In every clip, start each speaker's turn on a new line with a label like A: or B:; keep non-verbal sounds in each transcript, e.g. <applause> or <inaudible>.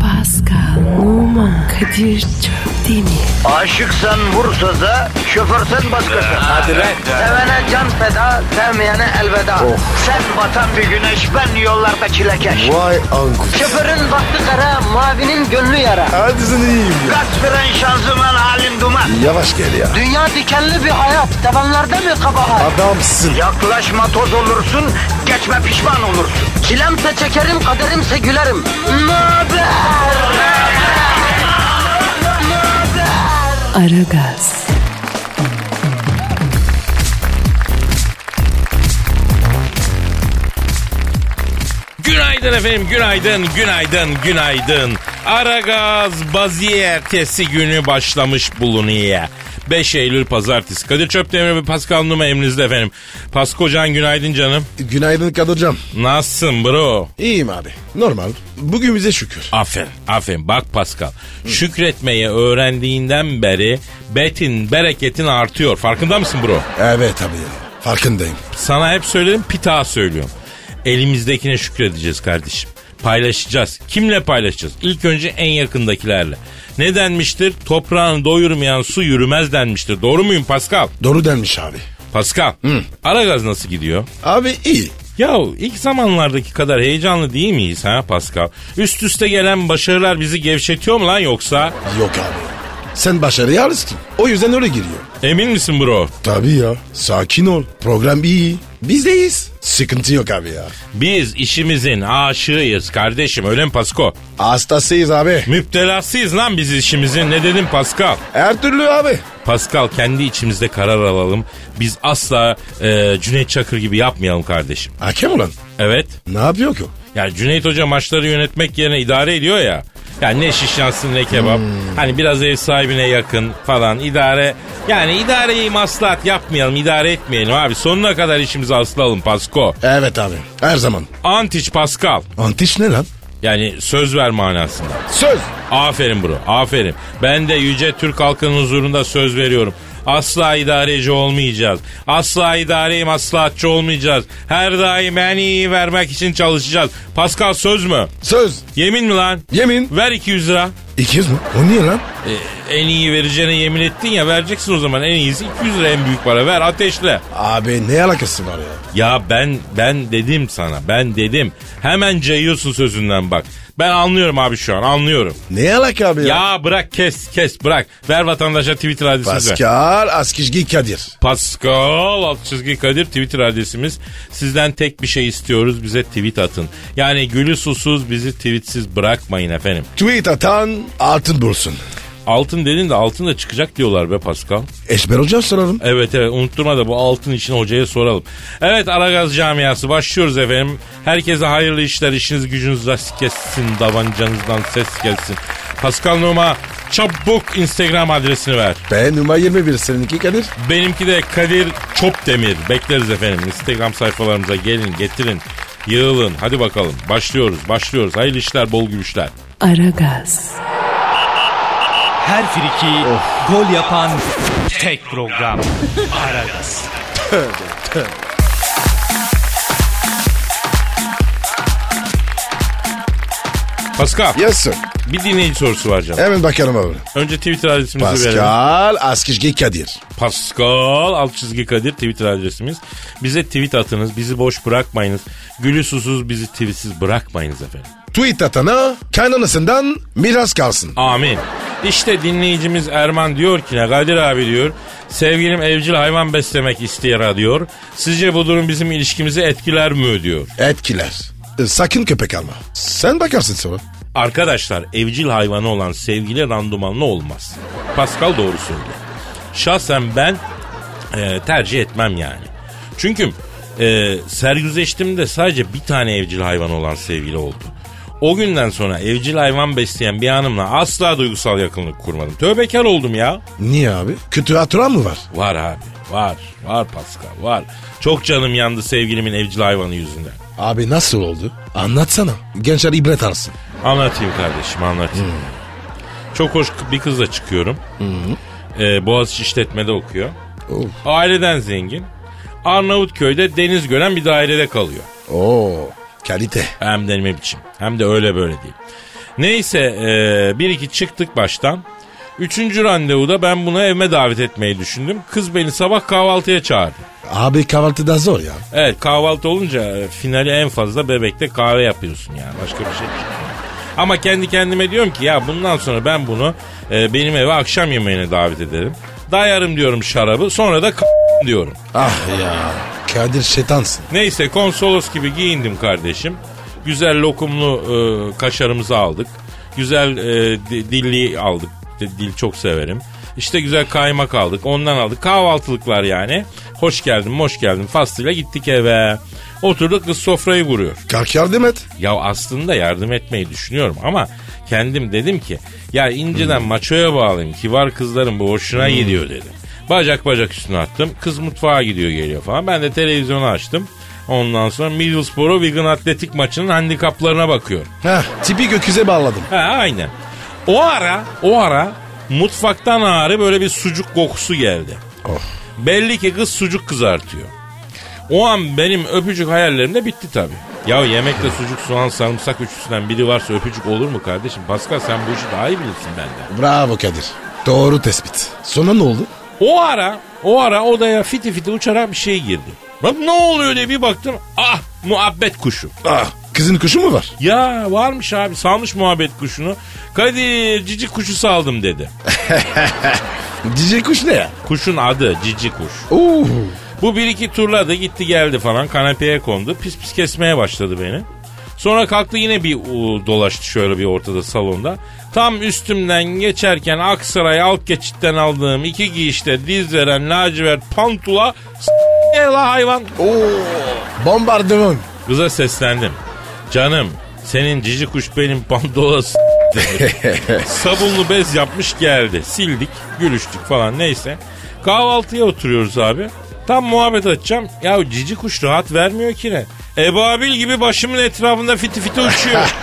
A: Pascal, Oman, Kadir çok değil mi?
B: Aşıksan vursa da, şoförsen başkasın. Hadi
C: lan.
B: Sevene can feda, sevmeyene elveda. Sen batan bir güneş, ben yollarda çilekeş.
C: Vay anku.
B: Şoförün baktı kara, mavinin gönlü yara.
C: Hadi sen iyiyim ya.
B: Kasperen şanzıman halin duman.
C: Yavaş gel ya.
B: Dünya dikenli bir hayat, sevenlerde mi kabahar?
C: Adamsın.
B: Yaklaşma toz olursun, geçme pişman olursun. Çilemse çekerim, kaderimse gülerim. Möber!
A: Aragaz,
D: Günaydın efendim, günaydın, günaydın, günaydın. Aragaz baziye ertesi günü başlamış bulunuyor. 5 Eylül Pazartesi. Kadir Çöptemir ve Pascal Numa emrinizde efendim. Paskocan günaydın canım.
C: Günaydın Kadir'cim.
D: Nasılsın bro?
C: İyiyim abi. Normal. Bugün bize şükür.
D: Aferin, aferin. Bak Pascal, şükretmeyi öğrendiğinden beri betin, bereketin artıyor. Farkında mısın bro?
C: Evet abi ya. Farkındayım.
D: Sana hep söylerim pita söylüyorum. Elimizdekine şükredeceğiz kardeşim. Paylaşacağız. Kimle paylaşacağız? İlk önce en yakındakilerle. Ne denmiştir? Toprağını doyurmayan su yürümez denmiştir. Doğru muyum Pascal?
C: Doğru denmiş abi.
D: Pascal. Aragaz nasıl gidiyor?
C: Abi iyi.
D: Ya ilk zamanlardaki kadar heyecanlı değil miyiz ha Pascal? Üst üste gelen başarılar bizi gevşetiyor mu lan yoksa?
C: Yok abi. Sen başarıya alıştın. O yüzden öyle giriyor.
D: Emin misin bro?
C: Tabii ya. Sakin ol. Program iyi. Bizdeyiz. Sıkıntı yok abi ya.
D: Biz işimizin aşığıyız kardeşim öyle mi Pasko?
C: Hastasıyız abi.
D: Müptelasıyız lan biz işimizin ne dedim Pascal?
C: Her türlü abi.
D: Pascal kendi içimizde karar alalım. Biz asla e, Cüneyt Çakır gibi yapmayalım kardeşim.
C: Hakem ulan.
D: Evet.
C: Ne yapıyor ki o?
D: Yani Cüneyt Hoca maçları yönetmek yerine idare ediyor ya. Yani ne şiş yansın ne kebap. Hani biraz ev sahibine yakın falan idare. Yani idareyi maslahat yapmayalım, idare etmeyelim abi. Sonuna kadar işimizi asılalım Pasko.
C: Evet abi. Her zaman.
D: Antiç Pascal.
C: Antiş ne lan?
D: Yani söz ver manasında.
C: Söz.
D: Aferin bro, aferin. Ben de yüce Türk halkının huzurunda söz veriyorum. Asla idareci olmayacağız. Asla idareyi maslahatçı olmayacağız. Her daim en iyi vermek için çalışacağız. Pascal söz mü?
C: Söz.
D: Yemin mi lan?
C: Yemin.
D: Ver 200 lira.
C: İkiz mi? O niye lan?
D: E, en iyi vereceğine yemin ettin ya vereceksin o zaman en iyisi 200 lira en büyük para ver ateşle.
C: Abi ne alakası var ya?
D: Ya ben ben dedim sana ben dedim. Hemen cayıyorsun sözünden bak. Ben anlıyorum abi şu an anlıyorum.
C: Ne alaka abi ya?
D: Ya bırak kes kes bırak. Ver vatandaşa Twitter adresimizi.
C: Pascal Askizgi Kadir.
D: Pascal alt çizgi Kadir Twitter adresimiz. Sizden tek bir şey istiyoruz bize tweet atın. Yani gülü susuz bizi tweetsiz bırakmayın efendim.
C: Tweet atan altın bulsun.
D: Altın dedin de altın da çıkacak diyorlar be Pascal.
C: Eşber hocam soralım.
D: Evet evet unutturma da bu altın için hocaya soralım. Evet Aragaz camiası başlıyoruz efendim. Herkese hayırlı işler işiniz gücünüz rast kessin davancanızdan ses gelsin. Pascal Numa çabuk Instagram adresini ver.
C: Ben numara 21 seninki Kadir.
D: Benimki de Kadir Çopdemir. Bekleriz efendim. Instagram sayfalarımıza gelin, getirin, yığılın. Hadi bakalım. Başlıyoruz, başlıyoruz. Hayırlı işler, bol gülüşler.
A: Aragaz,
E: Her friki gol yapan tek program. Aragaz.
D: Pascal,
C: Yes sir.
D: bir dinleyici sorusu var canım.
C: Hemen bakalım abi.
D: Önce Twitter adresimizi verelim.
C: Pascal Askizgi Kadir.
D: Pascal alt çizgi Kadir Twitter adresimiz. Bize tweet atınız, bizi boş bırakmayınız. Gülü susuz bizi tweetsiz bırakmayınız efendim.
C: Tweet atana kaynanasından miras kalsın.
D: Amin. İşte dinleyicimiz Erman diyor ki ne Kadir abi diyor. Sevgilim evcil hayvan beslemek istiyor diyor. Sizce bu durum bizim ilişkimizi etkiler mi diyor.
C: Etkiler. E, Sakın köpek alma. Sen bakarsın sonra.
D: Arkadaşlar evcil hayvanı olan sevgili randımanlı olmaz. Pascal doğru söylüyor. Şahsen ben e, tercih etmem yani. Çünkü e, sergüzeştimde sadece bir tane evcil hayvan olan sevgili oldu. O günden sonra evcil hayvan besleyen bir hanımla asla duygusal yakınlık kurmadım. Tövbekar oldum ya.
C: Niye abi? Kötü hatıra mı var?
D: Var abi. Var. Var Pascal. Var. Çok canım yandı sevgilimin evcil hayvanı yüzünden.
C: Abi nasıl oldu? Anlatsana. Gençler ibret alsın.
D: Anlatayım kardeşim anlatayım. Çok hoş bir kızla çıkıyorum. Ee, Boğaziçi işletmede okuyor.
C: Oo.
D: Aileden zengin. Arnavutköy'de deniz gören bir dairede kalıyor.
C: Oo, kalite.
D: Hem de ne biçim. Hem de öyle böyle değil. Neyse e, bir iki çıktık baştan. Üçüncü randevuda ben bunu evime davet etmeyi düşündüm. Kız beni sabah kahvaltıya çağırdı.
C: Abi kahvaltıda zor ya.
D: Evet kahvaltı olunca e, finali en fazla bebekte kahve yapıyorsun yani başka bir şey yok. Ama kendi kendime diyorum ki ya bundan sonra ben bunu e, benim eve akşam yemeğine davet ederim. Dayarım diyorum şarabı sonra da k- diyorum.
C: Ah ya. Kadir şeytansın.
D: Neyse konsolos gibi giyindim kardeşim. Güzel lokumlu e, kaşarımızı aldık. Güzel e, di- dilli aldık. Di- Dil çok severim. İşte güzel kaymak aldık. Ondan aldık. Kahvaltılıklar yani. Hoş geldin, hoş geldin. Faslıyla gittik eve. Oturduk kız sofrayı vuruyor.
C: Kalk yardım et.
D: Ya aslında yardım etmeyi düşünüyorum ama kendim dedim ki ya inceden maçoya bağlayayım kibar kızların bu hoşuna gidiyor dedim. Bacak bacak üstüne attım. Kız mutfağa gidiyor geliyor falan. Ben de televizyonu açtım. Ondan sonra Middlesbrough Wigan Atletik maçının handikaplarına bakıyorum.
C: Heh, tipi gökyüze bağladım.
D: Ha aynen. O ara o ara mutfaktan ağrı böyle bir sucuk kokusu geldi.
C: Oh.
D: Belli ki kız sucuk kızartıyor. O an benim öpücük hayallerim de bitti tabii. Ya yemekte sucuk, soğan, sarımsak üçlüsünden biri varsa öpücük olur mu kardeşim? Pascal sen bu işi daha iyi bilirsin benden.
C: Bravo Kadir. Doğru tespit. Sonra ne oldu?
D: O ara, o ara odaya fiti fiti uçarak bir şey girdi. Bak ne oluyor diye bir baktım. Ah muhabbet kuşu.
C: Ah, kızın kuşu mu var?
D: Ya varmış abi salmış muhabbet kuşunu. Kadir cici kuşu saldım dedi.
C: Cici kuş ne ya? Uh,
D: Kuşun adı cici kuş.
C: Oo.
D: Bu bir iki turladı gitti geldi falan kanepeye kondu. Pis pis kesmeye başladı beni. Sonra kalktı yine bir u, dolaştı şöyle bir ortada salonda. Tam üstümden geçerken Aksaray alt geçitten aldığım iki giyişte diz veren lacivert pantula s- la hayvan.
C: Oo. Bombardıman.
D: Kıza seslendim. Canım senin cici kuş benim pantola s- Sabunlu bez yapmış geldi. Sildik, gülüştük falan neyse. Kahvaltıya oturuyoruz abi. Tam muhabbet açacağım. Ya cici kuş rahat vermiyor ki ne? Ebabil gibi başımın etrafında fiti fiti uçuyor.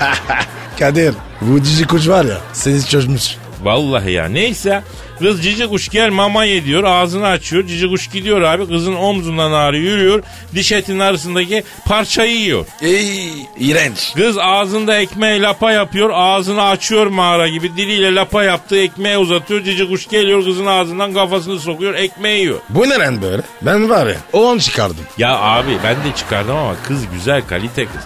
C: Kadir bu cici kuş var ya seni çözmüş.
D: Vallahi ya neyse. Kız cici kuş gel mama ye diyor. Ağzını açıyor. Cici kuş gidiyor abi. Kızın omzundan ağrı yürüyor. Diş etinin arasındaki parçayı yiyor.
C: Ey iğrenç.
D: Kız ağzında ekmeği lapa yapıyor. Ağzını açıyor mağara gibi. Diliyle lapa yaptığı ekmeğe uzatıyor. Cici kuş geliyor kızın ağzından kafasını sokuyor. Ekmeği yiyor.
C: Bu ne lan böyle? Ben var ya o an çıkardım.
D: Ya abi ben de çıkardım ama kız güzel kalite kız.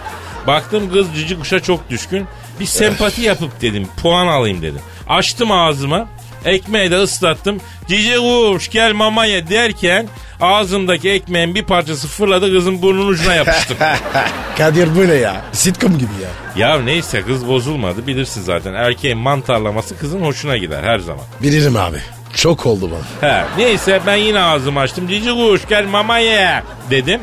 D: Baktım kız cici kuşa çok düşkün. Bir sempati yapıp dedim puan alayım dedim. Açtım ağzıma ekmeği de ıslattım. Cici kuş gel mama ye derken ağzımdaki ekmeğin bir parçası fırladı kızın burnunun ucuna yapıştı.
C: Kadir bu ne ya? Sitcom gibi ya.
D: Ya neyse kız bozulmadı bilirsin zaten. Erkeğin mantarlaması kızın hoşuna gider her zaman.
C: Bilirim abi. Çok oldu bana.
D: He, neyse ben yine ağzımı açtım. Cici kuş gel mama ye dedim.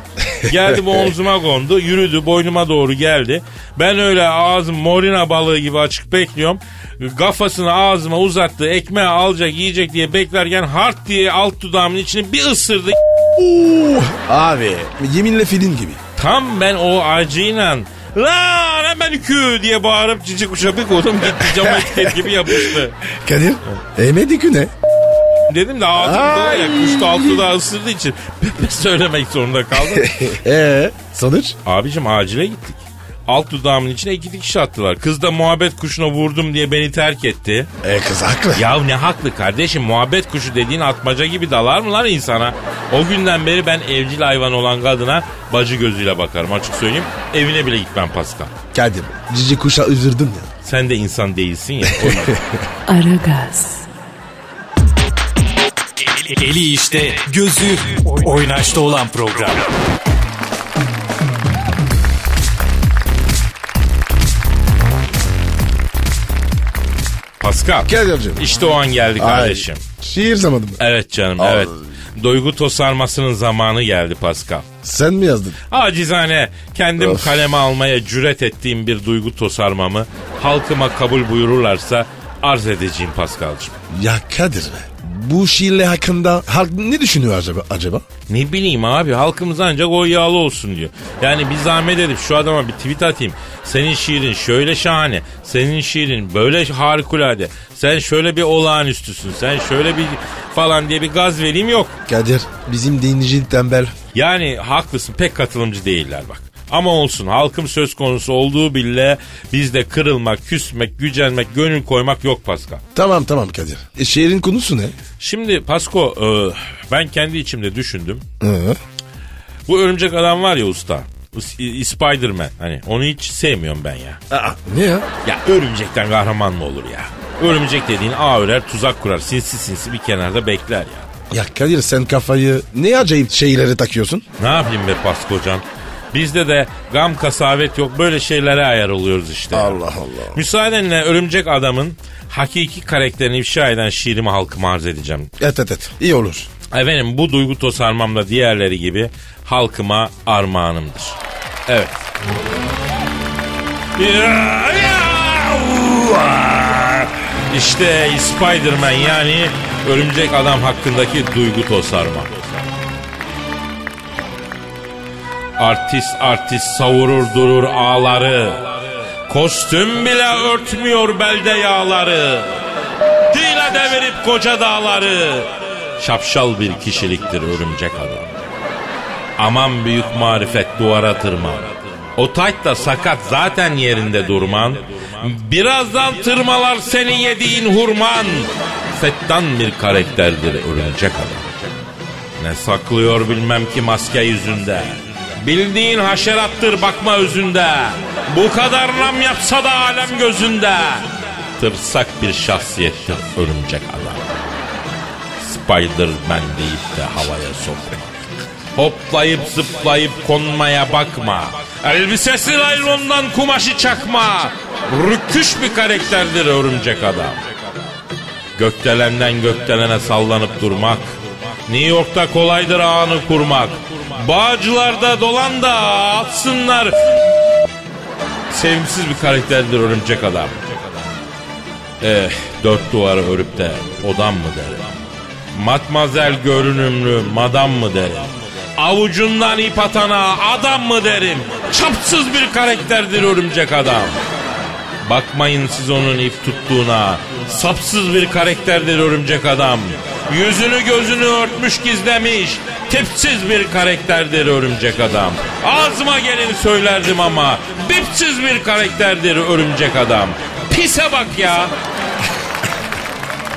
D: Geldi bu omzuma kondu. Yürüdü boynuma doğru geldi. Ben öyle ağzım morina balığı gibi açık bekliyorum. Kafasını ağzıma uzattı. Ekmeği alacak yiyecek diye beklerken hart diye alt dudağımın içini bir ısırdı.
C: Oo, abi yeminle film gibi.
D: Tam ben o acıyla La hemen kü diye bağırıp cici kuşa bir koydum gitti cama etiket gibi yapıştı.
C: Kadir eğmedi ki ne?
D: Dedim de ağzımda ya kuş da altı da ısırdığı için söylemek zorunda kaldım.
C: <laughs> Eee Ee, sonuç?
D: Abicim acile gittik. Alt dudağımın içine iki dikiş attılar. Kız da muhabbet kuşuna vurdum diye beni terk etti.
C: E kız haklı.
D: Ya ne haklı kardeşim muhabbet kuşu dediğin atmaca gibi dalar mı lan insana? O günden beri ben evcil hayvan olan kadına bacı gözüyle bakarım açık söyleyeyim. Evine bile gitmem Pascal.
C: Kadir cici kuşa üzüldün ya.
D: Sen de insan değilsin ya. O yüzden.
A: Aragaz,
E: Eli- Eli işte, gözü oynaşta olan program.
D: Pascal.
C: Kadir'cim.
D: İşte o an geldi kardeşim.
C: Ay, Şiir zamanı mı?
D: Evet canım
C: Ay.
D: evet. Duygu tosarmasının zamanı geldi Pascal.
C: Sen mi yazdın?
D: Acizane kendim
C: Of.
D: kaleme almaya cüret ettiğim bir duygu tosarmamı halkıma kabul buyururlarsa arz edeceğim Pascal'cığım.
C: Ya Kadir be. Bu şiirle hakkında halk ne düşünüyor acaba? acaba?
D: Ne bileyim abi halkımız ancak o yağlı olsun diyor. Yani bir zahmet edip şu adama bir tweet atayım. Senin şiirin şöyle şahane, senin şiirin böyle harikulade, sen şöyle bir olağanüstüsün, sen şöyle bir falan diye bir gaz vereyim yok.
C: Kadir bizim dinleyici tembel.
D: Yani haklısın pek katılımcı değiller bak. Ama olsun halkım söz konusu olduğu bile bizde kırılmak, küsmek, gücenmek, gönül koymak yok Pascal.
C: Tamam tamam Kadir. E, şehrin konusu ne?
D: Şimdi Pasko e, ben kendi içimde düşündüm.
C: Hı.
D: Bu örümcek adam var ya usta. İ- Spider-Man hani onu hiç sevmiyorum ben ya.
C: Aa, ne ya?
D: Ya örümcekten kahraman mı olur ya? Örümcek dediğin ağ örer tuzak kurar sinsi sinsi bir kenarda bekler ya.
C: Ya Kadir sen kafayı ne acayip şeylere takıyorsun?
D: Ne yapayım be Paskocan? Bizde de gam kasavet yok böyle şeylere ayar oluyoruz
C: Ee.
D: işte.
C: Allah.
D: Müsaadenle örümcek adamın hakiki karakterini ifşa eden şiirimi halkıma arz edeceğim.
C: Et et et. İyi olur.
D: Efendim bu duygu tosarmamda diğerleri gibi halkıma armağanımdır. Evet. Ya- ya- İşte Spider-Man yani örümcek adam hakkındaki duygu tosarma. Artist artist savurur durur ağları. Kostüm bile örtmüyor belde yağları. Dile devirip koca dağları. Şapşal bir kişiliktir örümcek adam. Aman büyük marifet duvara tırman. O tayt da sakat zaten yerinde durman. Birazdan tırmalar senin yediğin hurman. Fettan bir karakterdir örümcek adam. Ne saklıyor bilmem ki maske yüzünde. Bildiğin haşerattır bakma özünde. Bu kadar nam yapsa da alem gözünde. Tırsak bir şahsiyettir örümcek adam. Spider-Man deyip de havaya sokma. Hoplayıp zıplayıp konmaya bakma. Elbisesi laylondan kumaşı çakma. Rüküş bir karakterdir örümcek adam. Gökdelenden gökdelene sallanıp durmak. New York'ta kolaydır ağını kurmak. Bağcılarda dolan da atsınlar. Sevimsiz bir karakterdir örümcek adam. Eh dört duvarı örüp de odam mı derim. Matmazel görünümlü madam mı derim. Avucundan ip atana adam mı derim. Çapsız bir karakterdir örümcek adam. Bakmayın siz onun ip tuttuğuna. Sapsız bir karakterdir örümcek adam. Yüzünü gözünü örtmüş gizlemiş. Tipsiz bir karakterdir örümcek adam. Ağzıma gelin söylerdim ama. Bipsiz bir karakterdir örümcek adam. Pise bak ya. <laughs>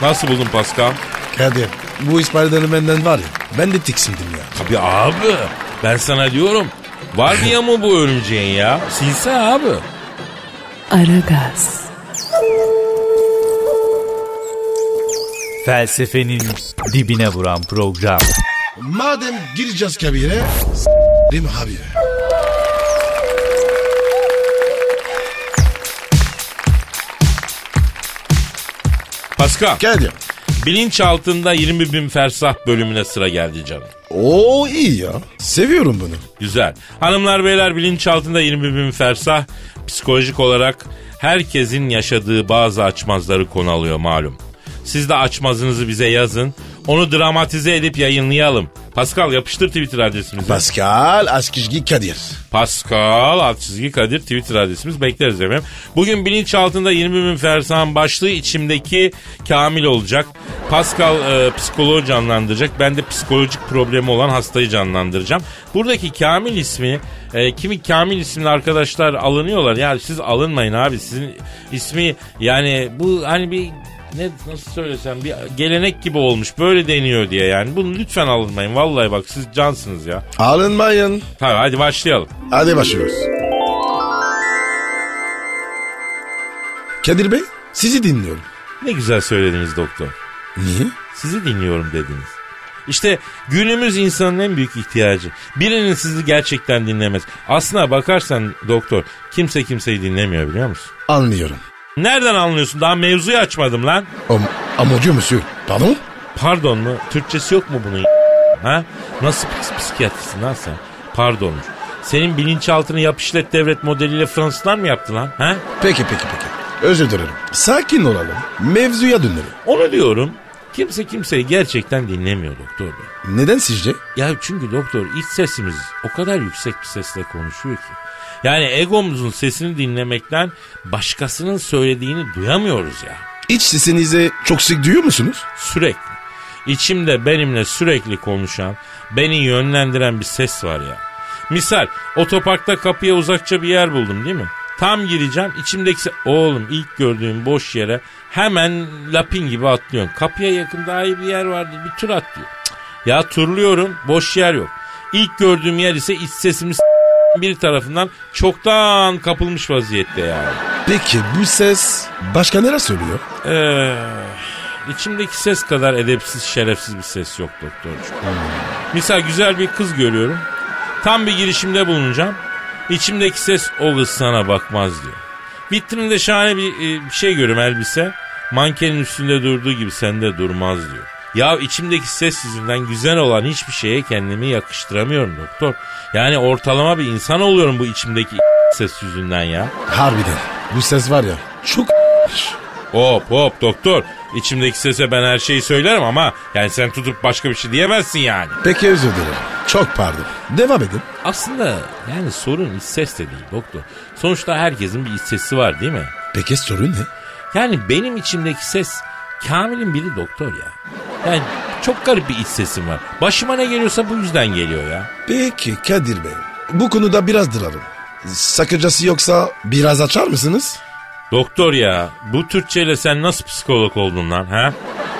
D: Nasıl buldun Pascal?
C: Kadir bu Spider-Man'den var ya ben de tiksindim ya.
D: Tabii abi. Ben sana diyorum. Var mı ya mı bu örümceğin ya? Sinsi abi.
A: Aragaz,
E: Felsefenin dibine vuran program.
C: Madem gireceğiz kabire s**rim abi.
D: Pascal.
C: Kadir.
D: Bilinç altında 20 bin fersah bölümüne sıra geldi canım.
C: Oo iyi ya. Seviyorum bunu.
D: Güzel. Hanımlar beyler bilinç altında 20 bin fersah psikolojik olarak herkesin yaşadığı bazı açmazları konu alıyor malum. Siz de açmazınızı bize yazın. Onu dramatize edip yayınlayalım. Pascal yapıştır Twitter adresimizi.
C: Pascal Askizgi Kadir.
D: Pascal alt çizgi Kadir Twitter adresimiz bekleriz efendim. Bugün bilinç altında 20 bin fersan başlığı içimdeki Kamil olacak. Pascal e, psikoloğu canlandıracak. Ben de psikolojik problemi olan hastayı canlandıracağım. Buradaki Kamil ismi e, kimi Kamil isimli arkadaşlar alınıyorlar. Ya siz alınmayın abi sizin ismi yani bu hani bir ne nasıl söylesem bir gelenek gibi olmuş böyle deniyor diye yani bunu lütfen alınmayın vallahi bak siz cansınız ya.
C: Alınmayın.
D: Tabii hadi başlayalım.
C: Hadi başlıyoruz. Kadir Bey sizi dinliyorum.
D: Ne güzel söylediniz doktor.
C: Niye?
D: Sizi dinliyorum dediniz. İşte günümüz insanın en büyük ihtiyacı. Birinin sizi gerçekten dinlemez. Aslına bakarsan doktor kimse kimseyi dinlemiyor biliyor musun?
C: Anlıyorum.
D: Nereden anlıyorsun? Daha mevzuyu açmadım lan.
C: Am amacı monsieur. Pardon?
D: Pardon mu? Türkçesi yok mu bunun? Ha? Nasıl pis psikiyatrisin lan sen? Pardon. Senin bilinçaltını yapışlet devlet modeliyle Fransızlar mı yaptı lan? Ha?
C: Peki peki peki. Özür dilerim. Sakin olalım. Mevzuya dönelim.
D: Onu diyorum. Kimse kimseyi gerçekten dinlemiyor doktor bey.
C: Neden sizce?
D: Ya çünkü doktor iç sesimiz o kadar yüksek bir sesle konuşuyor ki. Yani egomuzun sesini dinlemekten başkasının söylediğini duyamıyoruz ya.
C: İç sesinizi çok sık duyuyor musunuz?
D: Sürekli. İçimde benimle sürekli konuşan, beni yönlendiren bir ses var ya. Misal otoparkta kapıya uzakça bir yer buldum değil mi? Tam gireceğim içimdeki... se- Oğlum ilk gördüğüm boş yere hemen lapin gibi atlıyorum. Kapıya yakın daha iyi bir yer vardı bir tur atlıyor. Ya turluyorum boş yer yok. İlk gördüğüm yer ise iç sesimi s- bir tarafından çoktan kapılmış vaziyette yani.
C: Peki bu ses başka nereye söylüyor?
D: Ee, içimdeki ses kadar edepsiz, şerefsiz bir ses yok doktorcuğum. Misal güzel bir kız görüyorum. Tam bir girişimde bulunacağım. İçimdeki ses o kız sana bakmaz diyor. Vitrininde şahane bir, e, bir şey görüyorum elbise. Mankenin üstünde durduğu gibi sende durmaz diyor. Ya içimdeki ses yüzünden güzel olan hiçbir şeye kendimi yakıştıramıyorum doktor. Yani ortalama bir insan oluyorum bu içimdeki ses yüzünden ya.
C: Harbiden bu ses var ya çok
D: Hop hop doktor. İçimdeki sese ben her şeyi söylerim ama yani sen tutup başka bir şey diyemezsin yani.
C: Peki özür dilerim. Çok pardon. Devam edin.
D: Aslında yani sorun iç ses de değil doktor. Sonuçta herkesin bir iç sesi var değil mi?
C: Peki sorun ne?
D: Yani benim içimdeki ses Kamil'in biri doktor ya. Yani çok garip bir iç sesim var. Başıma ne geliyorsa bu yüzden geliyor ya.
C: Peki Kadir Bey. Bu konuda biraz duralım. Sakıncası yoksa biraz açar mısınız?
D: Doktor ya bu Türkçeyle sen nasıl psikolog oldun lan ha?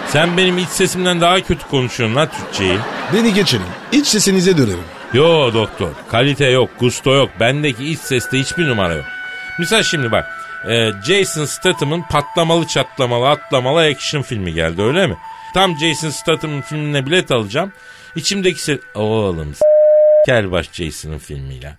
D: Sen benim iç sesimden daha kötü konuşuyorsun lan Türkçeyi.
C: Beni geçelim. İç sesinize dönelim.
D: Yo doktor. Kalite yok, gusto yok. Bendeki iç seste hiçbir numara yok. Misal şimdi bak. e, Jason Statham'ın patlamalı çatlamalı atlamalı action filmi geldi öyle mi? Tam Jason Statham'ın filmine bilet alacağım. İçimdeki ses... Oğlum s- Kelbaş Jason'ın filmiyle.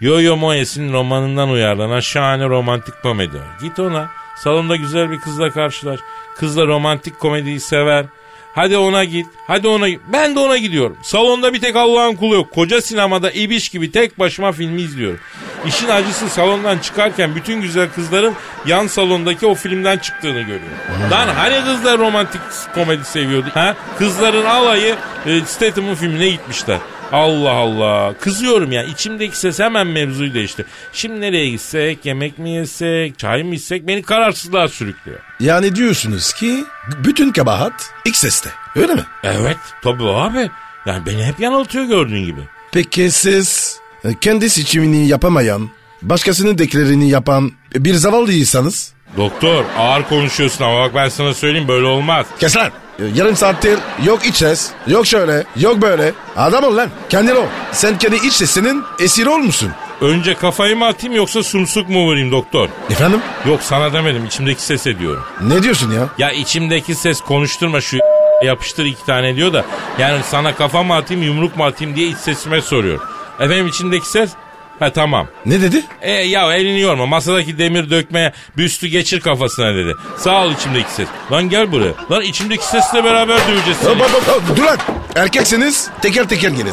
D: Yo-Yo Moyes'in romanından uyarlanan şahane romantik komedi. Git ona. Salonda güzel bir kızla karşılaş. Kızla romantik komediyi sever. Hadi ona git. Hadi ona git. Ben de ona gidiyorum. Salonda bir tek Allah'ın kulu yok. Koca sinemada ibiş gibi tek başıma filmi izliyorum. İşin acısı salondan çıkarken bütün güzel kızların yan salondaki o filmden çıktığını görüyorum. Lan hani kızlar romantik komedi seviyordu? Ha? Kızların alayı e, Statham'ın filmine gitmişler. Allah Allah. Kızıyorum ya. İçimdeki ses hemen mevzuyu değişti. Şimdi nereye gitsek? Yemek mi yesek? Çay mı içsek? Beni kararsızlığa sürüklüyor.
C: Yani diyorsunuz ki bütün kabahat ilk seste. Öyle mi?
D: Evet. Tabii abi. Yani beni hep yanıltıyor gördüğün gibi.
C: Peki siz e, kendi seçimini yapamayan, başkasının deklerini yapan bir zavallıysanız...
D: Doktor ağır konuşuyorsun ama bak ben sana söyleyeyim böyle olmaz.
C: Kes lan! E, Yarım saattir yok iç ses, yok şöyle, yok böyle. Adam ol lan, kendin ol. Sen kendi iç sesinin esiri olmuşsun.
D: Önce kafayı mı atayım yoksa sumsuk mu vurayım doktor?
C: Efendim?
D: Yok sana demedim içimdeki ses ediyorum.
C: Ne diyorsun ya?
D: Ya içimdeki ses konuşturma şu <laughs> yapıştır iki tane diyor da yani sana kafa mı atayım yumruk mu atayım diye iç sesime soruyor. Efendim içimdeki ses? Ha tamam.
C: Ne dedi?
D: E ya elini yorma masadaki demir dökmeye büstü geçir kafasına dedi. Sağ ol içimdeki ses. Lan gel buraya. Lan içimdeki sesle beraber döveceğiz
C: Hop,
D: seni.
C: hop, hop, hop, Dur lan! Erkekseniz teker teker gelin.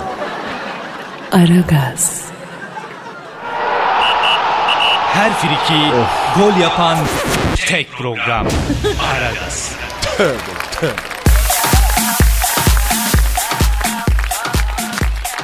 A: Aragaz,
E: Her friki gol yapan tek program. Aragaz.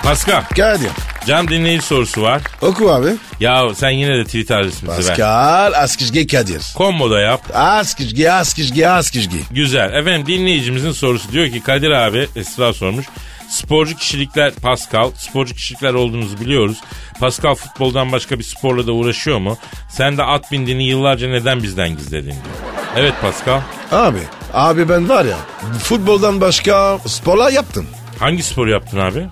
D: Pascal
C: Kadir,
D: cam dinleyici sorusu var.
C: oku abi.
D: Ya sen yine de Twitter adresimizi ver.
C: Pascal Askizgi Kadir.
D: Komboda yap.
C: Askizgi, Askizgi, Askizgi.
D: Güzel. Efendim dinleyicimizin sorusu diyor ki Kadir abi Esra sormuş. Sporcu kişilikler Pascal. Sporcu kişilikler olduğunuzu biliyoruz. Pascal futboldan başka bir sporla da uğraşıyor mu? Sen de at bindiğini yıllarca neden bizden gizledin diyor. Evet Pascal.
C: Abi, abi ben var ya futboldan başka sporlar yaptım.
D: Hangi spor yaptın abi?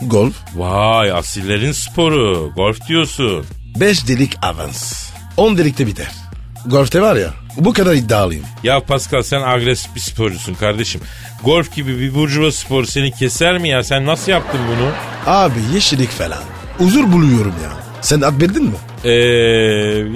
C: Golf,
D: Vay asillerin sporu. Golf diyorsun.
C: 5 delik avans. 10 delikte biter. Golfte var ya bu kadar iddialıyım.
D: Ya Pascal sen agresif bir sporcusun kardeşim. Golf gibi bir burjuva sporu seni keser mi ya? Sen nasıl yaptın bunu?
C: Abi yeşillik falan. Huzur buluyorum ya. Sen at bildin mi?
D: Ee,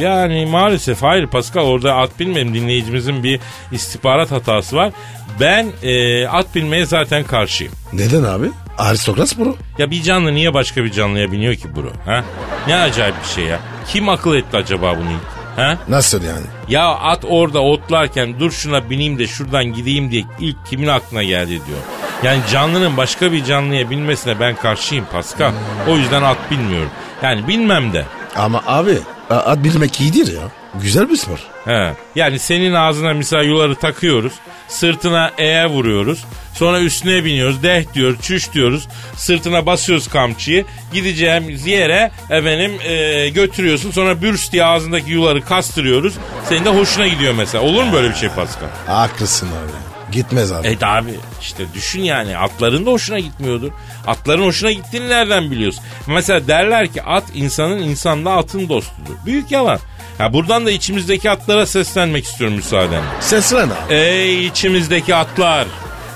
D: yani maalesef hayır Pascal orada at bilmem dinleyicimizin bir istihbarat hatası var. Ben e, at bilmeye zaten karşıyım.
C: Neden abi? Aristokrat sporu.
D: Ya bir canlı niye başka bir canlıya biniyor ki bro? Ha? Ne acayip bir şey ya. Kim akıl etti acaba bunu ilk? Ha?
C: Nasıl yani?
D: Ya at orada otlarken dur şuna bineyim de şuradan gideyim diye ilk kimin aklına geldi diyor. Yani canlının başka bir canlıya binmesine ben karşıyım Pascal. O yüzden at bilmiyorum. Yani bilmem de.
C: Ama abi a- at bilmek iyidir ya. Güzel bir spor.
D: He. Yani senin ağzına misal yuları takıyoruz. Sırtına eğe vuruyoruz. Sonra üstüne biniyoruz. Deh diyor, çüş diyoruz. Sırtına basıyoruz kamçıyı. Gideceğimiz yere efendim e, götürüyorsun. Sonra bürs diye ağzındaki yuları kastırıyoruz. Senin de hoşuna gidiyor mesela. Olur mu böyle bir şey Pascal?
C: Haklısın abi. Gitmez abi.
D: Evet abi E işte düşün yani atların da hoşuna gitmiyordur. Atların hoşuna gittiğini nereden biliyorsun? Mesela derler ki at insanın insanla atın dostudur. Büyük yalan. Ha buradan da içimizdeki atlara seslenmek istiyorum müsaadenle.
C: Seslen abi.
D: Ey içimizdeki atlar.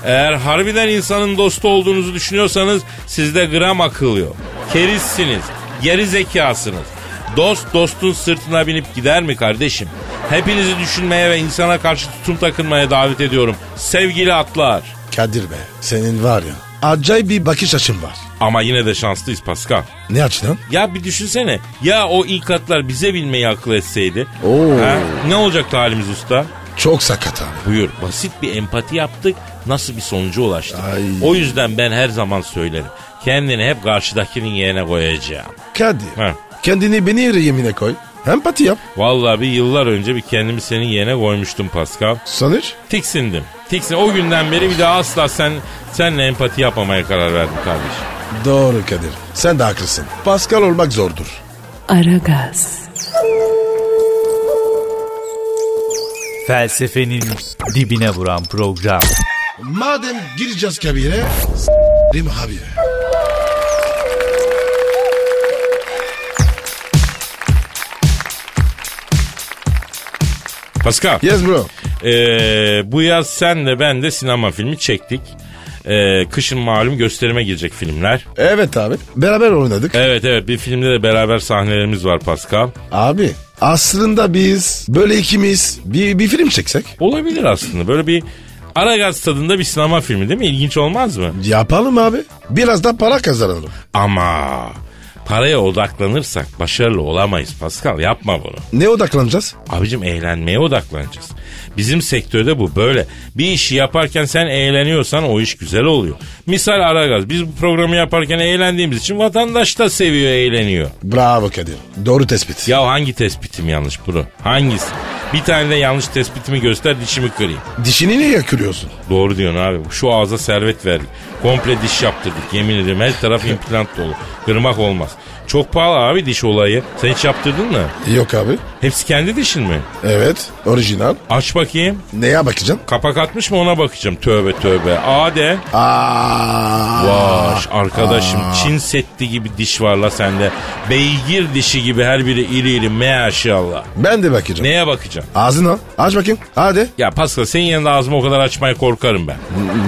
D: Eğer harbiden insanın dostu olduğunuzu düşünüyorsanız sizde gram akıl yok. Kerizsiniz, geri zekasınız. Dost dostun sırtına binip gider mi kardeşim? Hepinizi düşünmeye ve insana karşı tutum takınmaya davet ediyorum. Sevgili atlar.
C: Kadir be senin var ya acayip bir bakış açın var.
D: Ama yine de şanslıyız Pascal.
C: Ne açıdan?
D: Ya bir düşünsene. Ya o ilk atlar bize bilmeyi akıl etseydi.
C: Oo.
D: Ha? Ne olacaktı halimiz usta?
C: Çok sakat abi.
D: Buyur. Basit bir empati yaptık. Nasıl bir sonuca ulaştık?
C: Ay.
D: O yüzden ben her zaman söylerim. Kendini hep karşıdakinin yerine koyacağım.
C: Kadir
D: Ha.
C: kendini beni yemine koy. Empati yap.
D: Vallahi bir yıllar önce bir kendimi senin yerine koymuştum Pascal.
C: Sonuç?
D: Tiksindim. Tiksin. O günden beri bir daha asla sen senle empati yapmamaya karar verdim kardeşim.
C: Doğru Kadir. Sen de haklısın. Pascal olmak zordur.
A: Aragaz,
E: Felsefenin dibine vuran program.
C: Madem gireceğiz kabire s**rim abi.
D: Pascal.
C: Yes bro.
D: Ee, bu yaz sen de ben de sinema filmi çektik. Ee, kışın malum gösterime girecek filmler.
C: Evet abi. Beraber oynadık.
D: Evet evet bir filmde de beraber sahnelerimiz var Pascal.
C: Abi aslında biz böyle ikimiz bir, bir film çeksek.
D: Olabilir aslında böyle bir Aragaz tadında bir sinema filmi değil mi? İlginç olmaz mı?
C: Yapalım abi. Biraz da para kazanalım.
D: Ama paraya odaklanırsak başarılı olamayız Pascal yapma bunu.
C: Ne odaklanacağız?
D: Abicim eğlenmeye odaklanacağız. Bizim sektörde bu böyle. Bir işi yaparken sen eğleniyorsan o iş güzel oluyor. Misal Aragaz biz bu programı yaparken eğlendiğimiz için vatandaş da seviyor eğleniyor.
C: Bravo Kadir. Doğru tespit.
D: Ya hangi tespitim yanlış bro? Hangisi? Bir tane de yanlış tespitimi göster dişimi kırayım.
C: Dişini niye yakıyorsun?
D: Doğru diyorsun abi. Şu ağza servet verdik. Komple diş yaptırdık. Yemin ederim her taraf implant dolu. Kırmak olmaz. Çok pahalı abi diş olayı. Sen hiç yaptırdın mı?
C: Yok abi.
D: Hepsi kendi dişin mi?
C: Evet. Orijinal.
D: Aç bakayım.
C: Neye bakacağım?
D: Kapak atmış mı ona bakacağım. Tövbe tövbe. Ade.
C: Aa.
D: Vaş arkadaşım Çin setti gibi diş var la sende. Beygir dişi gibi her biri iri iri maşallah.
C: Ben de bakacağım.
D: Neye bakacağım?
C: Ağzını aç bakayım. Hadi.
D: Ya Pascal senin yanında ağzımı o kadar açmaya korkarım ben.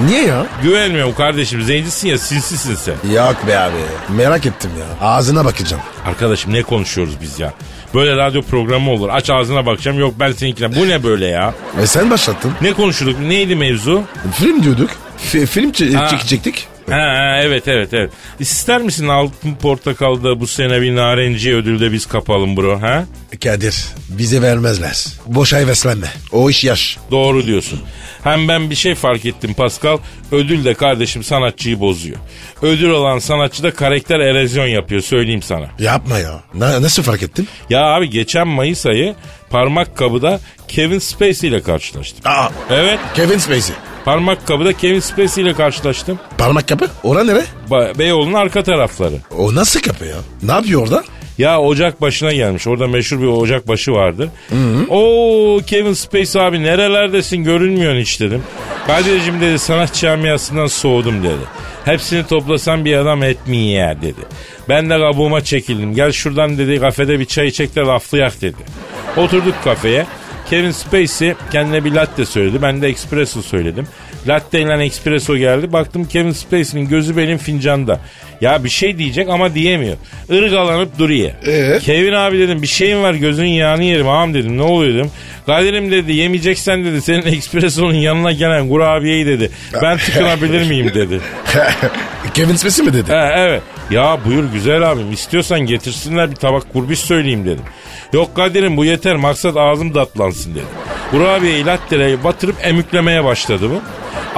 C: Niye ya?
D: Güvenmiyorum kardeşim. Zencisin ya sinsisin sen.
C: Yok be abi. Merak ettim ya. Ağzına bakacağım.
D: Arkadaşım ne konuşuyoruz biz ya? Böyle radyo programı olur. Aç ağzına bakacağım. Yok ben seninkine. Bu ne böyle ya?
C: E sen başlattın.
D: Ne konuşuyorduk? Neydi mevzu?
C: Film diyorduk. Fi- film çe-
D: Ha.
C: çekecektik.
D: Ha, ha, evet evet evet. İster misin altın portakalda bu sene bir narenciye ödülde biz kapalım bro ha?
C: Kadir bize vermezler. Boş heveslenme. O iş yaş.
D: Doğru diyorsun. Hem ben bir şey fark ettim Pascal. Ödül de kardeşim sanatçıyı bozuyor. Ödül olan sanatçı da karakter erozyon yapıyor söyleyeyim sana.
C: Yapma ya. Na- nasıl fark ettin?
D: Ya abi geçen Mayıs ayı parmak kabıda Kevin Spacey ile karşılaştım.
C: Aa.
D: Evet
C: Kevin Spacey.
D: Parmak kabıda Kevin Spacey ile karşılaştım.
C: Parmak kapı. Ora nere?
D: Ba- Beyoğlu'nun arka tarafları.
C: O nasıl kapı ya? Ne yapıyor orada? <laughs>
D: Ya ocak başına gelmiş. Orada meşhur bir ocak başı vardı. Oo Kevin Spacey abi nerelerdesin görünmüyorsun hiç dedim. Kadir'cim dedi sanat camiasından soğudum dedi. Hepsini toplasan bir adam etmiyor ya dedi. Ben de kabuğuma çekildim. Gel şuradan dedi kafede bir çay içek de laflayak dedi. Oturduk kafeye. Kevin Spacey kendine bir latte söyledi. Ben de espresso söyledim. Latte ile espresso geldi. Baktım Kevin Spacey'nin gözü benim fincanda. Ya bir şey diyecek ama diyemiyor. Irgalanıp duruyor.
C: Ee?
D: Kevin abi dedim bir şeyin var gözün yağını yerim ağam dedim ne oluyor dedim. Kadir'im dedi yemeyeceksen dedi senin espresso'nun yanına gelen kurabiyeyi dedi. Ben tıkınabilir miyim dedi.
C: Kevin Spacey mi dedi?
D: Ha, evet. Ya buyur güzel abim istiyorsan getirsinler bir tabak kurbiş söyleyeyim dedim. Yok Kadir'im bu yeter maksat ağzım tatlansın dedim. Kurabiyeyi latte'ye batırıp emüklemeye başladı bu.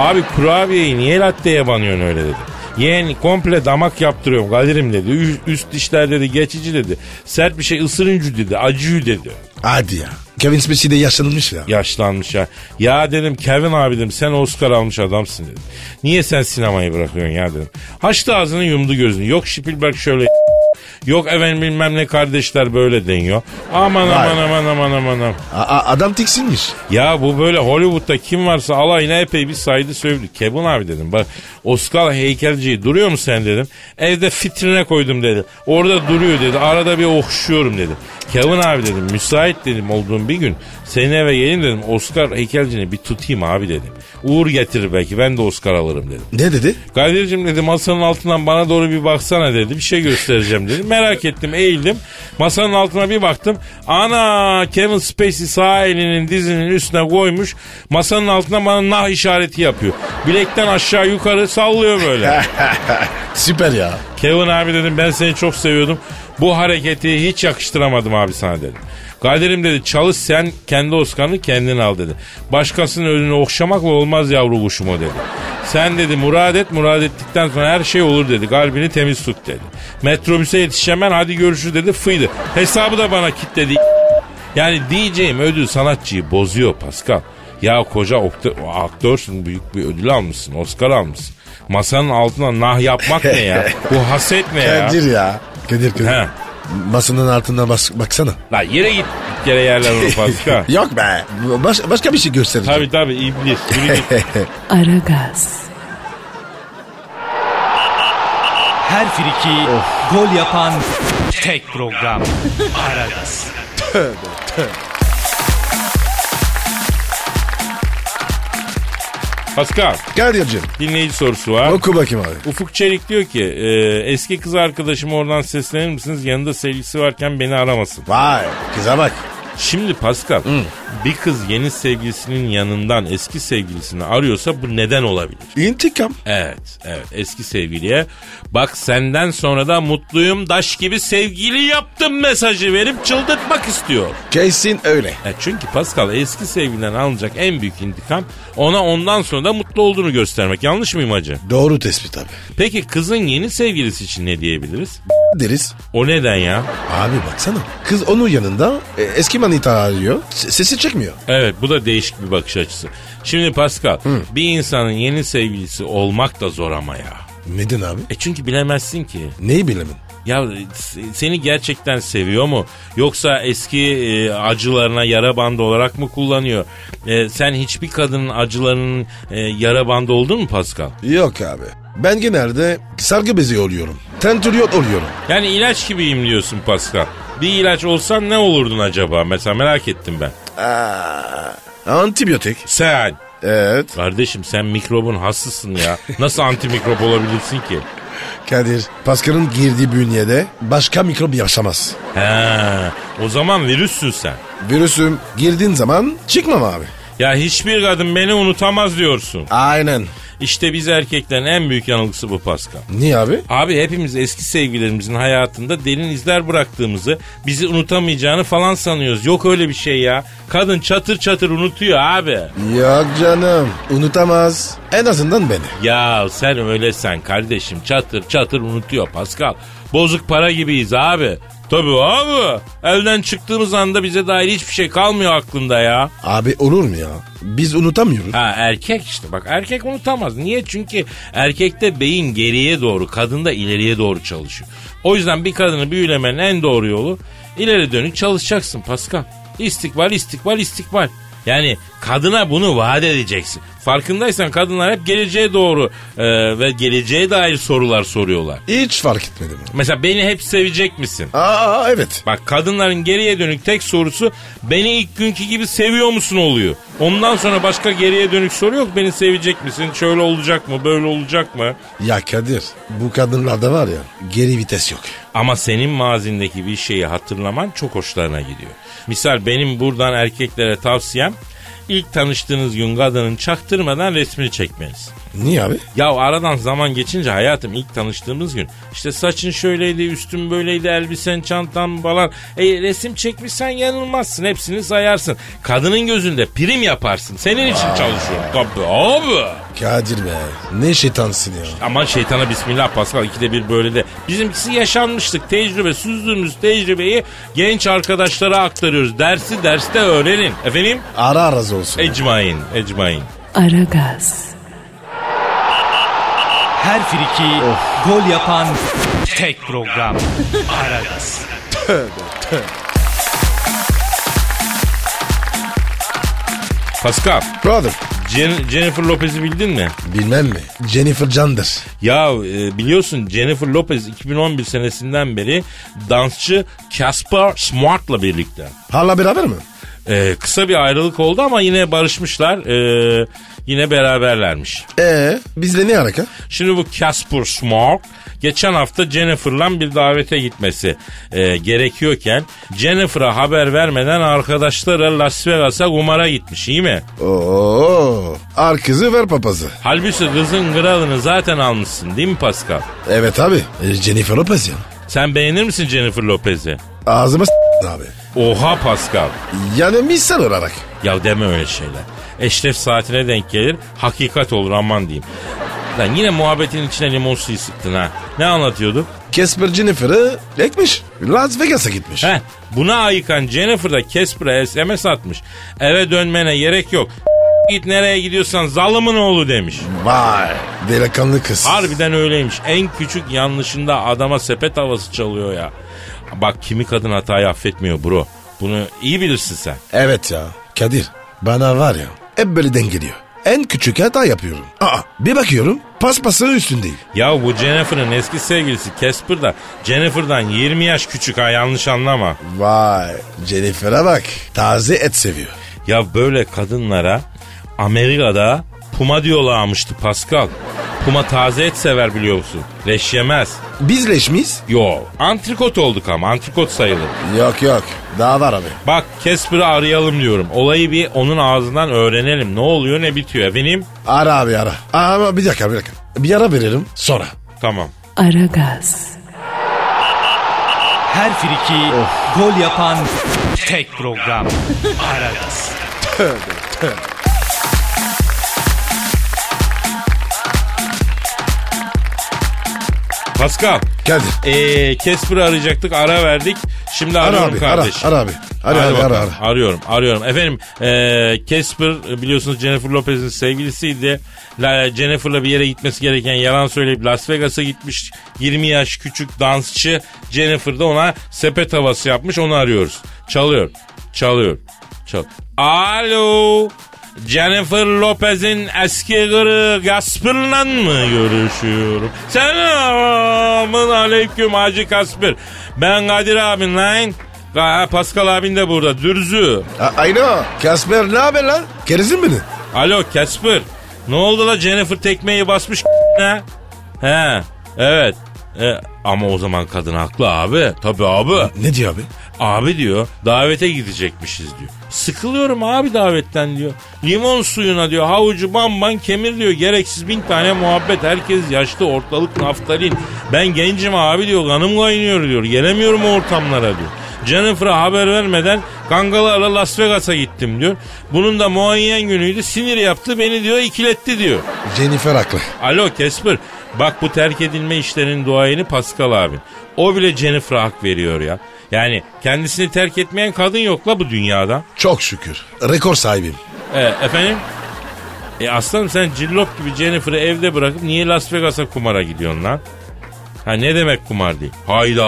D: Abi kurabiyeyi niye latte'ye banıyorsun öyle dedi. Yeğen komple damak yaptırıyorum Kadir'im dedi. Ü- Üst dişler dedi geçici dedi. Sert bir şey ısırıncı dedi. Acıyı dedi.
C: Hadi ya. Kevin Spacey de yaşlanmış ya.
D: Yaşlanmış ya. Ya dedim Kevin abi dedim sen Oscar almış adamsın dedim. Niye sen sinemayı bırakıyorsun ya dedim. Açtı ağzını yumdu gözünü. Yok Spielberg şöyle <laughs> Yok efendim bilmem ne kardeşler böyle deniyor. Aman
C: Vay.
D: aman aman aman aman. aman.
C: A- a- adam tiksinmiş.
D: Ya bu böyle Hollywood'da kim varsa alayına epey bir saydı sövdü. Kebun abi dedim bak Oscar heykelciyi duruyor mu sen dedim. Evde fitrine koydum dedi. Orada duruyor dedi. Arada bir okşuyorum dedim. Kevin abi dedim müsait dedim olduğum bir gün senin eve gelin dedim Oscar heykelcini bir tutayım abi dedim. Uğur getirir belki ben de Oscar alırım dedim.
C: Ne dedi?
D: Kadir'cim dedi masanın altından bana doğru bir baksana dedi. Bir şey göstereceğim dedi. Merak ettim eğildim. Masanın altına bir baktım. Ana Kevin Spacey sağ elinin dizinin üstüne koymuş. Masanın altına bana nah işareti yapıyor. Bilekten aşağı yukarı sallıyor böyle.
C: Süper ya.
D: Kevin abi dedim ben seni çok seviyordum. Bu hareketi hiç yakıştıramadım abi sana dedim. Kadir'im dedi çalış sen kendi Oscar'ını kendin al dedi. Başkasının önünü okşamakla olmaz yavru kuşum o dedi. Sen dedi murad et murad ettikten sonra her şey olur dedi. Kalbini temiz tut dedi. Metrobüse yetişemem hadi görüşürüz dedi fıydı. Hesabı da bana kilitledi. Yani diyeceğim ödül sanatçıyı bozuyor Pascal. Ya koca okta- aktörsün büyük bir ödül almışsın Oscar almışsın. Masanın altına nah yapmak ne ya? Bu haset ne ya?
C: Kadir ya. Kadir Kadir.
D: He.
C: Masanın altına bas- baksana.
D: La yere git bir kere yerler onu <laughs> Pascal.
C: <laughs> Yok be. Baş- başka bir şey gösterecek.
D: tabii tabii iblis. Yürü <laughs> git.
A: Aragaz,
E: Her friki gol yapan tek program. Aragaz.
D: Pascal
C: Kadir'cim
D: dinleyici sorusu var.
C: oku bakayım abi.
D: Ufuk Çelik diyor ki e, eski kız arkadaşım oradan seslenir misiniz? Yanında sevgilisi varken beni aramasın.
C: Vay kıza bak.
D: Şimdi Pascal bir kız yeni sevgilisinin yanından eski sevgilisini arıyorsa bu neden olabilir?
C: İntikam.
D: Evet, evet. Eski sevgiliye bak senden sonra da mutluyum daş gibi sevgili yaptım mesajı verip çıldırtmak istiyor.
C: Kesin öyle.
D: E çünkü Pascal eski sevgiliden alınacak en büyük intikam ona ondan sonra da mutlu olduğunu göstermek. Yanlış mıyım hacı?
C: Doğru tespit abi.
D: Peki kızın yeni sevgilisi için ne diyebiliriz?
C: Deriz.
D: O neden ya?
C: Abi baksana. Kız onun yanında e, eski manita arıyor. S- sesi çıkmıyor.
D: Evet bu da değişik bir bakış açısı. Şimdi Pascal bir insanın yeni sevgilisi olmak da zor ama ya.
C: Neden abi?
D: E çünkü bilemezsin ki.
C: Neyi bilemin?
D: Ya se- seni gerçekten seviyor mu? Yoksa eski e, acılarına yara bandı olarak mı kullanıyor? E, sen hiçbir kadının acılarının e, yara bandı oldun mu Pascal?
C: Yok abi. Ben genelde sargı bezi oluyorum. Tentüriyot oluyorum.
D: Yani ilaç gibiyim diyorsun Pascal. Bir ilaç olsan ne olurdun acaba? Mesela merak ettim ben.
C: Aa, antibiyotik.
D: Sen.
C: Evet.
D: Kardeşim sen mikrobun hassısın ya. Nasıl antimikrop olabilirsin ki?
C: Kadir. Pascal'ın girdiği bünyede başka mikrop yaşamaz.
D: He, o zaman virüssün sen.
C: Virüsüm girdiğin zaman çıkmam abi.
D: Ya hiçbir kadın beni unutamaz diyorsun.
C: Aynen.
D: İşte biz erkeklerin en büyük yanılgısı bu Pascal.
C: Niye abi?
D: Abi hepimiz eski sevgilerimizin hayatında derin izler bıraktığımızı, bizi unutamayacağını falan sanıyoruz. Yok öyle bir şey ya. Kadın çatır çatır unutuyor abi.
C: Yok canım. Unutamaz. En azından beni.
D: Ya sen öyle sen kardeşim çatır çatır unutuyor Pascal. Bozuk para gibiyiz abi. Tabii abi. Elden çıktığımız anda bize dair hiçbir şey kalmıyor aklında ya.
C: Abi olur mu ya? Biz unutamıyoruz.
D: Ha erkek işte bak erkek unutamaz. Niye? Çünkü erkekte beyin geriye doğru, kadında ileriye doğru çalışıyor. O yüzden bir kadını büyülemenin en doğru yolu ileri dönük çalışacaksın Pascal. İstikbal, istikbal, istikbal. Yani kadına bunu vaat edeceksin. Farkındaysan kadınlar hep geleceğe doğru e, ve geleceğe dair sorular soruyorlar.
C: Hiç fark etmedim.
D: Mesela beni hep sevecek misin?
C: Aa evet.
D: Bak kadınların geriye dönük tek sorusu beni ilk günkü gibi seviyor musun oluyor. Ondan sonra başka geriye dönük soru yok. Beni sevecek misin? Şöyle olacak mı? Böyle olacak mı?
C: Ya Kadir bu kadınlarda var ya geri vites yok.
D: Ama senin mazindeki bir şeyi hatırlaman çok hoşlarına gidiyor. Misal benim buradan erkeklere tavsiyem ilk tanıştığınız gün kadının çaktırmadan resmini çekmeniz.
C: Niye abi?
D: Ya aradan zaman geçince hayatım ilk tanıştığımız gün işte saçın şöyleydi üstün böyleydi elbisen çantan falan e, resim çekmişsen yanılmazsın hepsini sayarsın. Kadının gözünde prim yaparsın senin için çalışıyorum tabii abi.
C: Kadir be ne şeytansın ya.
D: Aman şeytana bismillah Pascal ikide bir böyle de. Bizimkisi yaşanmışlık tecrübe süzdüğümüz tecrübeyi genç arkadaşlara aktarıyoruz. Dersi derste öğrenin. Efendim?
C: Ara araz olsun.
D: Ecmain, ecmain.
A: Aragaz,
E: Her friki gol yapan tek program. Aragaz.
D: Pascal,
C: Brother.
D: Jen- Jennifer Lopez'i bildin mi?
C: Bilmem mi? Jennifer Candır.
D: Ya e, biliyorsun Jennifer Lopez 2011 senesinden beri dansçı Casper Smart'la birlikte.
C: Hala beraber mi?
D: E, kısa bir ayrılık oldu ama yine barışmışlar. E, yine beraberlermiş.
C: Ee, bizle ne alaka?
D: Şimdi bu Casper Smog geçen hafta Jennifer'la bir davete gitmesi e, gerekiyorken Jennifer'a haber vermeden arkadaşlarıyla Las Vegas'a kumara gitmiş iyi mi?
C: Oo, arkızı ver papazı.
D: Halbuki kızın kralını zaten almışsın değil mi Pascal?
C: Evet abi. e, Jennifer Lopez ya.
D: Sen beğenir misin Jennifer Lopez'i?
C: Ağzıma s- abi.
D: Oha Pascal.
C: Yani misal olarak.
D: Ya deme öyle şeyler. Eşref saatine denk gelir. Hakikat olur aman diyeyim. Lan yine muhabbetin içine limon suyu sıktın ha. Ne anlatıyorduk?
C: Casper Jennifer'ı ekmiş. Las Vegas'a gitmiş.
D: Heh, buna ayıkan Jennifer da Casper'a SMS atmış. Eve dönmene gerek yok. Git nereye gidiyorsan zalımın oğlu demiş.
C: Vay. Delikanlı kız.
D: Harbiden öyleymiş. En küçük yanlışında adama sepet havası çalıyor ya. Bak kimi kadın hatayı affetmiyor bro. Bunu iyi bilirsin sen.
C: Evet ya. Kadir bana var ya hep böyle dengeliyor. En küçük hata yapıyorum. Aa bir bakıyorum paspasının üstündeyim.
D: Ya bu Jennifer'ın eski sevgilisi Casper da Jennifer'dan 20 yaş küçük ha yanlış anlama.
C: Vay Jennifer'a bak. Taze et seviyor.
D: Ya böyle kadınlara Amerika'da puma diyorlarmıştı Pascal. Puma taze et sever biliyorsun. Leş yemez.
C: Biz leşmiyiz?
D: Yo antrikot olduk ama antrikot sayılır.
C: Yok yok daha var abi.
D: Bak Casper'ı arayalım diyorum. Olayı bir onun ağzından öğrenelim. Ne oluyor ne bitiyor efendim?
C: Ara abi ara. Ama bir dakika bir dakika. Bir ara verelim sonra.
D: Tamam.
A: Aragaz,
E: Her friki gol yapan tek program. Aragaz.
D: Pascal.
C: Kadir.
D: Ee, Casper'ı arayacaktık ara verdik. Şimdi
C: Ara
D: arıyorum
C: abi ara,
D: kardeş.
C: ara abi. Ara
D: Hadi
C: abi ara
D: bakalım.
C: ara.
D: Arıyorum arıyorum. Efendim ee, Casper biliyorsunuz Jennifer Lopez'in sevgilisiydi. La, Jennifer'la bir yere gitmesi gereken yalan söyleyip Las Vegas'a gitmiş. 20 yaş küçük dansçı Jennifer da ona sepet havası yapmış onu arıyoruz. Çalıyor çalıyor. Çal. Alo. Jennifer Lopez'in eski kırı Gasper'la mı görüşüyorum? Selamun aleyküm Hacı Gasper. Ben Kadir abin lan. Ha, Pascal abin de burada. Dürzü.
C: A- Ayno. Kasper ne haber lan? Kerizin mi?
D: Alo Casper. Ne oldu la Jennifer tekmeyi basmış <laughs> ne? He. Evet. E, ama o zaman kadın haklı abi. Tabii abi.
C: Ne diyor abi?
D: Abi diyor davete gidecekmişiz diyor. Sıkılıyorum abi davetten diyor. Limon suyuna diyor havucu bamban kemir diyor. Gereksiz bin tane muhabbet. Herkes yaşlı ortalık naftalin. Ben gencim abi diyor kanım kaynıyor diyor. Gelemiyorum o ortamlara diyor. Jennifer'a haber vermeden kangalarla Las Vegas'a gittim diyor. Bunun da muayyen günüydü. Sinir yaptı beni diyor ikiletti diyor.
C: Jennifer haklı.
D: Alo Casper. Bak bu terk edilme işlerinin duayeni Pascal abi. O bile Jennifer'a hak veriyor ya. Yani kendisini terk etmeyen kadın yok la bu dünyada.
C: Çok şükür. Rekor sahibim.
D: E, efendim? E aslanım sen cillop gibi Jennifer'ı evde bırakıp niye Las Vegas'a kumara gidiyorsun lan? Ha ne demek kumar değil? Hayda.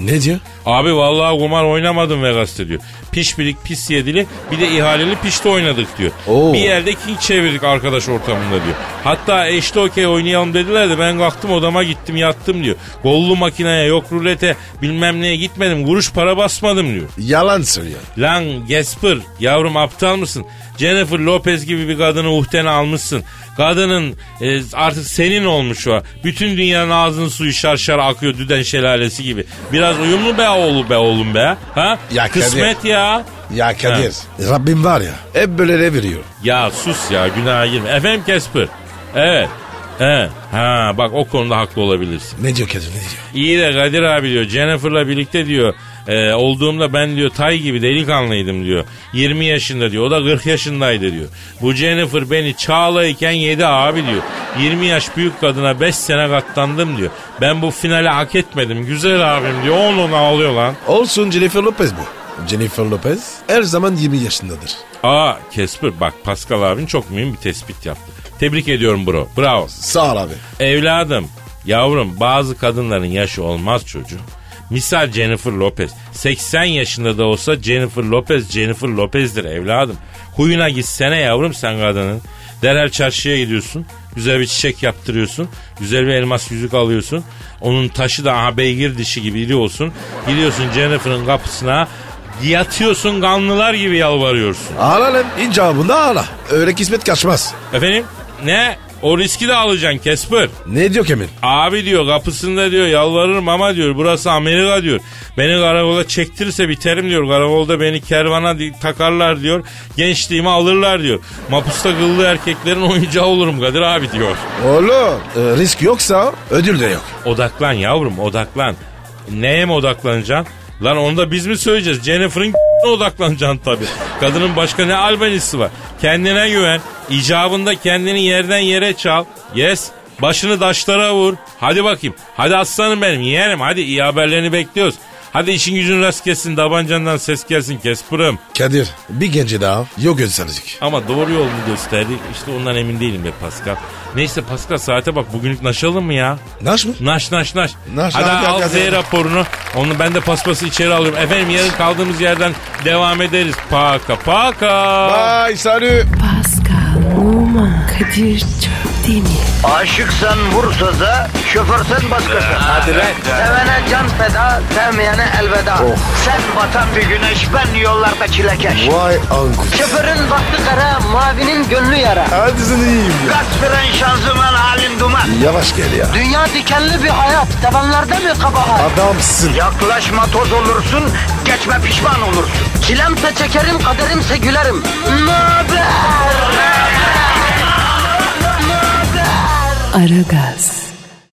C: Ne diyor?
D: Abi vallahi kumar oynamadım Vegas'ta diyor. Piş bilik pis yedili bir de ihaleli pişti oynadık diyor.
C: Oo.
D: Bir yerde king çevirdik arkadaş ortamında diyor. Hatta eşli okey oynayalım dediler de ben kalktım odama gittim yattım diyor. Gollu makineye yok rulete bilmem neye gitmedim kuruş para basmadım diyor.
C: Yalan söylüyor.
D: Lan Gasper yavrum aptal mısın? Jennifer Lopez gibi bir kadını uhtene almışsın. Kadının e, artık senin olmuş o. Bütün dünyanın ağzının suyu şarşar akıyor düden şelalesi gibi. Biraz uyumlu be oğlu be oğlum be. Ha?
C: Ya
D: Kısmet ya.
C: Ya Kadir. Rabbim var ya. Hep böyle ne veriyor.
D: Ya sus ya günaha girme. Efendim Casper. Evet. He. Ha bak o konuda haklı olabilirsin.
C: Ne diyor Kadir ne diyor?
D: İyi de Kadir abi diyor Jennifer'la birlikte diyor Ee, olduğumda ben diyor tay gibi delikanlıydım diyor. 20 yaşında diyor. O da 40 yaşındaydı diyor. Bu Jennifer beni çağlayken yedi abi diyor. 20 yaş büyük kadına 5 sene katlandım diyor. Ben bu finale hak etmedim. Güzel abim diyor. Onu ona alıyor lan.
C: Olsun Jennifer Lopez bu. Jennifer Lopez her zaman 20 yaşındadır.
D: Aa Kesper bak Pascal abin çok mühim bir tespit yaptı. Tebrik ediyorum bro. Bravo.
C: Sağ ol abi.
D: Evladım, yavrum bazı kadınların yaşı olmaz çocuğum. Misal Jennifer Lopez. 80 yaşında da olsa Jennifer Lopez Jennifer Lopez'dir evladım. Huyuna gitsene yavrum sen kadının. Derhal çarşıya gidiyorsun. Güzel bir çiçek yaptırıyorsun. Güzel bir elmas yüzük alıyorsun. Onun taşı da aha beygir dişi gibi iri olsun. Gidiyorsun Jennifer'ın kapısına. Yatıyorsun kanlılar gibi yalvarıyorsun.
C: Ağla lan. İcabında ağla. Öyle kismet kaçmaz.
D: Efendim ne? O riski de alacaksın Kesper.
C: Ne diyor Kemal?
D: Abi diyor kapısında diyor yalvarırım ama diyor burası Amerika diyor. Beni karakola çektirirse biterim diyor. Karakolda beni kervana di- takarlar diyor. Gençliğimi alırlar diyor. Mapusta kıllı erkeklerin oyuncağı olurum Kadir abi diyor.
C: Oğlum e, risk yoksa ödül de yok.
D: Odaklan yavrum odaklan. Neye mi odaklanacaksın? Lan onu da biz mi söyleyeceğiz? Jennifer'ın <laughs> odaklanacaksın tabii. Kadının başka ne albanisi var? Kendine güven. İcabında kendini yerden yere çal. Yes. Başını taşlara vur. Hadi bakayım. Hadi aslanım benim yeğenim. Hadi iyi haberlerini bekliyoruz. Hadi işin gücün rast gelsin. Dabancandan ses gelsin Kesper'ım.
C: Kadir bir genci daha yok gösterdik.
D: Ama doğru yol mu gösterdik? İşte ondan emin değilim be Pascal. Neyse Pascal saate bak. Bugünlük naşalım mı ya?
C: Naş mı?
D: Naş naş naş.
C: Naş,
D: Hadi
C: hadi,
D: al
C: hadi,
D: Z
C: hadi.
D: raporunu. Onu ben de paspası içeri alıyorum. Efendim yarın kaldığımız yerden devam ederiz. Paka paka.
C: Ay salü.
A: Pascal, Oman, Kadir çok değil mi?
B: Aşıksan vursa da şoförsen başkasın. Hadi
C: lan.
B: Sevene can feda, sevmeyene elveda. Sen batan bir güneş, ben yollarda çilekeş.
C: Vay anku.
B: Şoförün baktı kara, mavinin gönlü yara.
C: Hadi sen iyiyim ya.
B: Kasperen şanzıman halin duman.
C: Yavaş gel ya.
B: Dünya dikenli bir hayat, sevenlerde mi kabahar?
C: Adamsın.
B: Yaklaşma toz olursun, geçme pişman olursun. Çilemse çekerim, kaderimse gülerim. Möber!
A: Aragaz.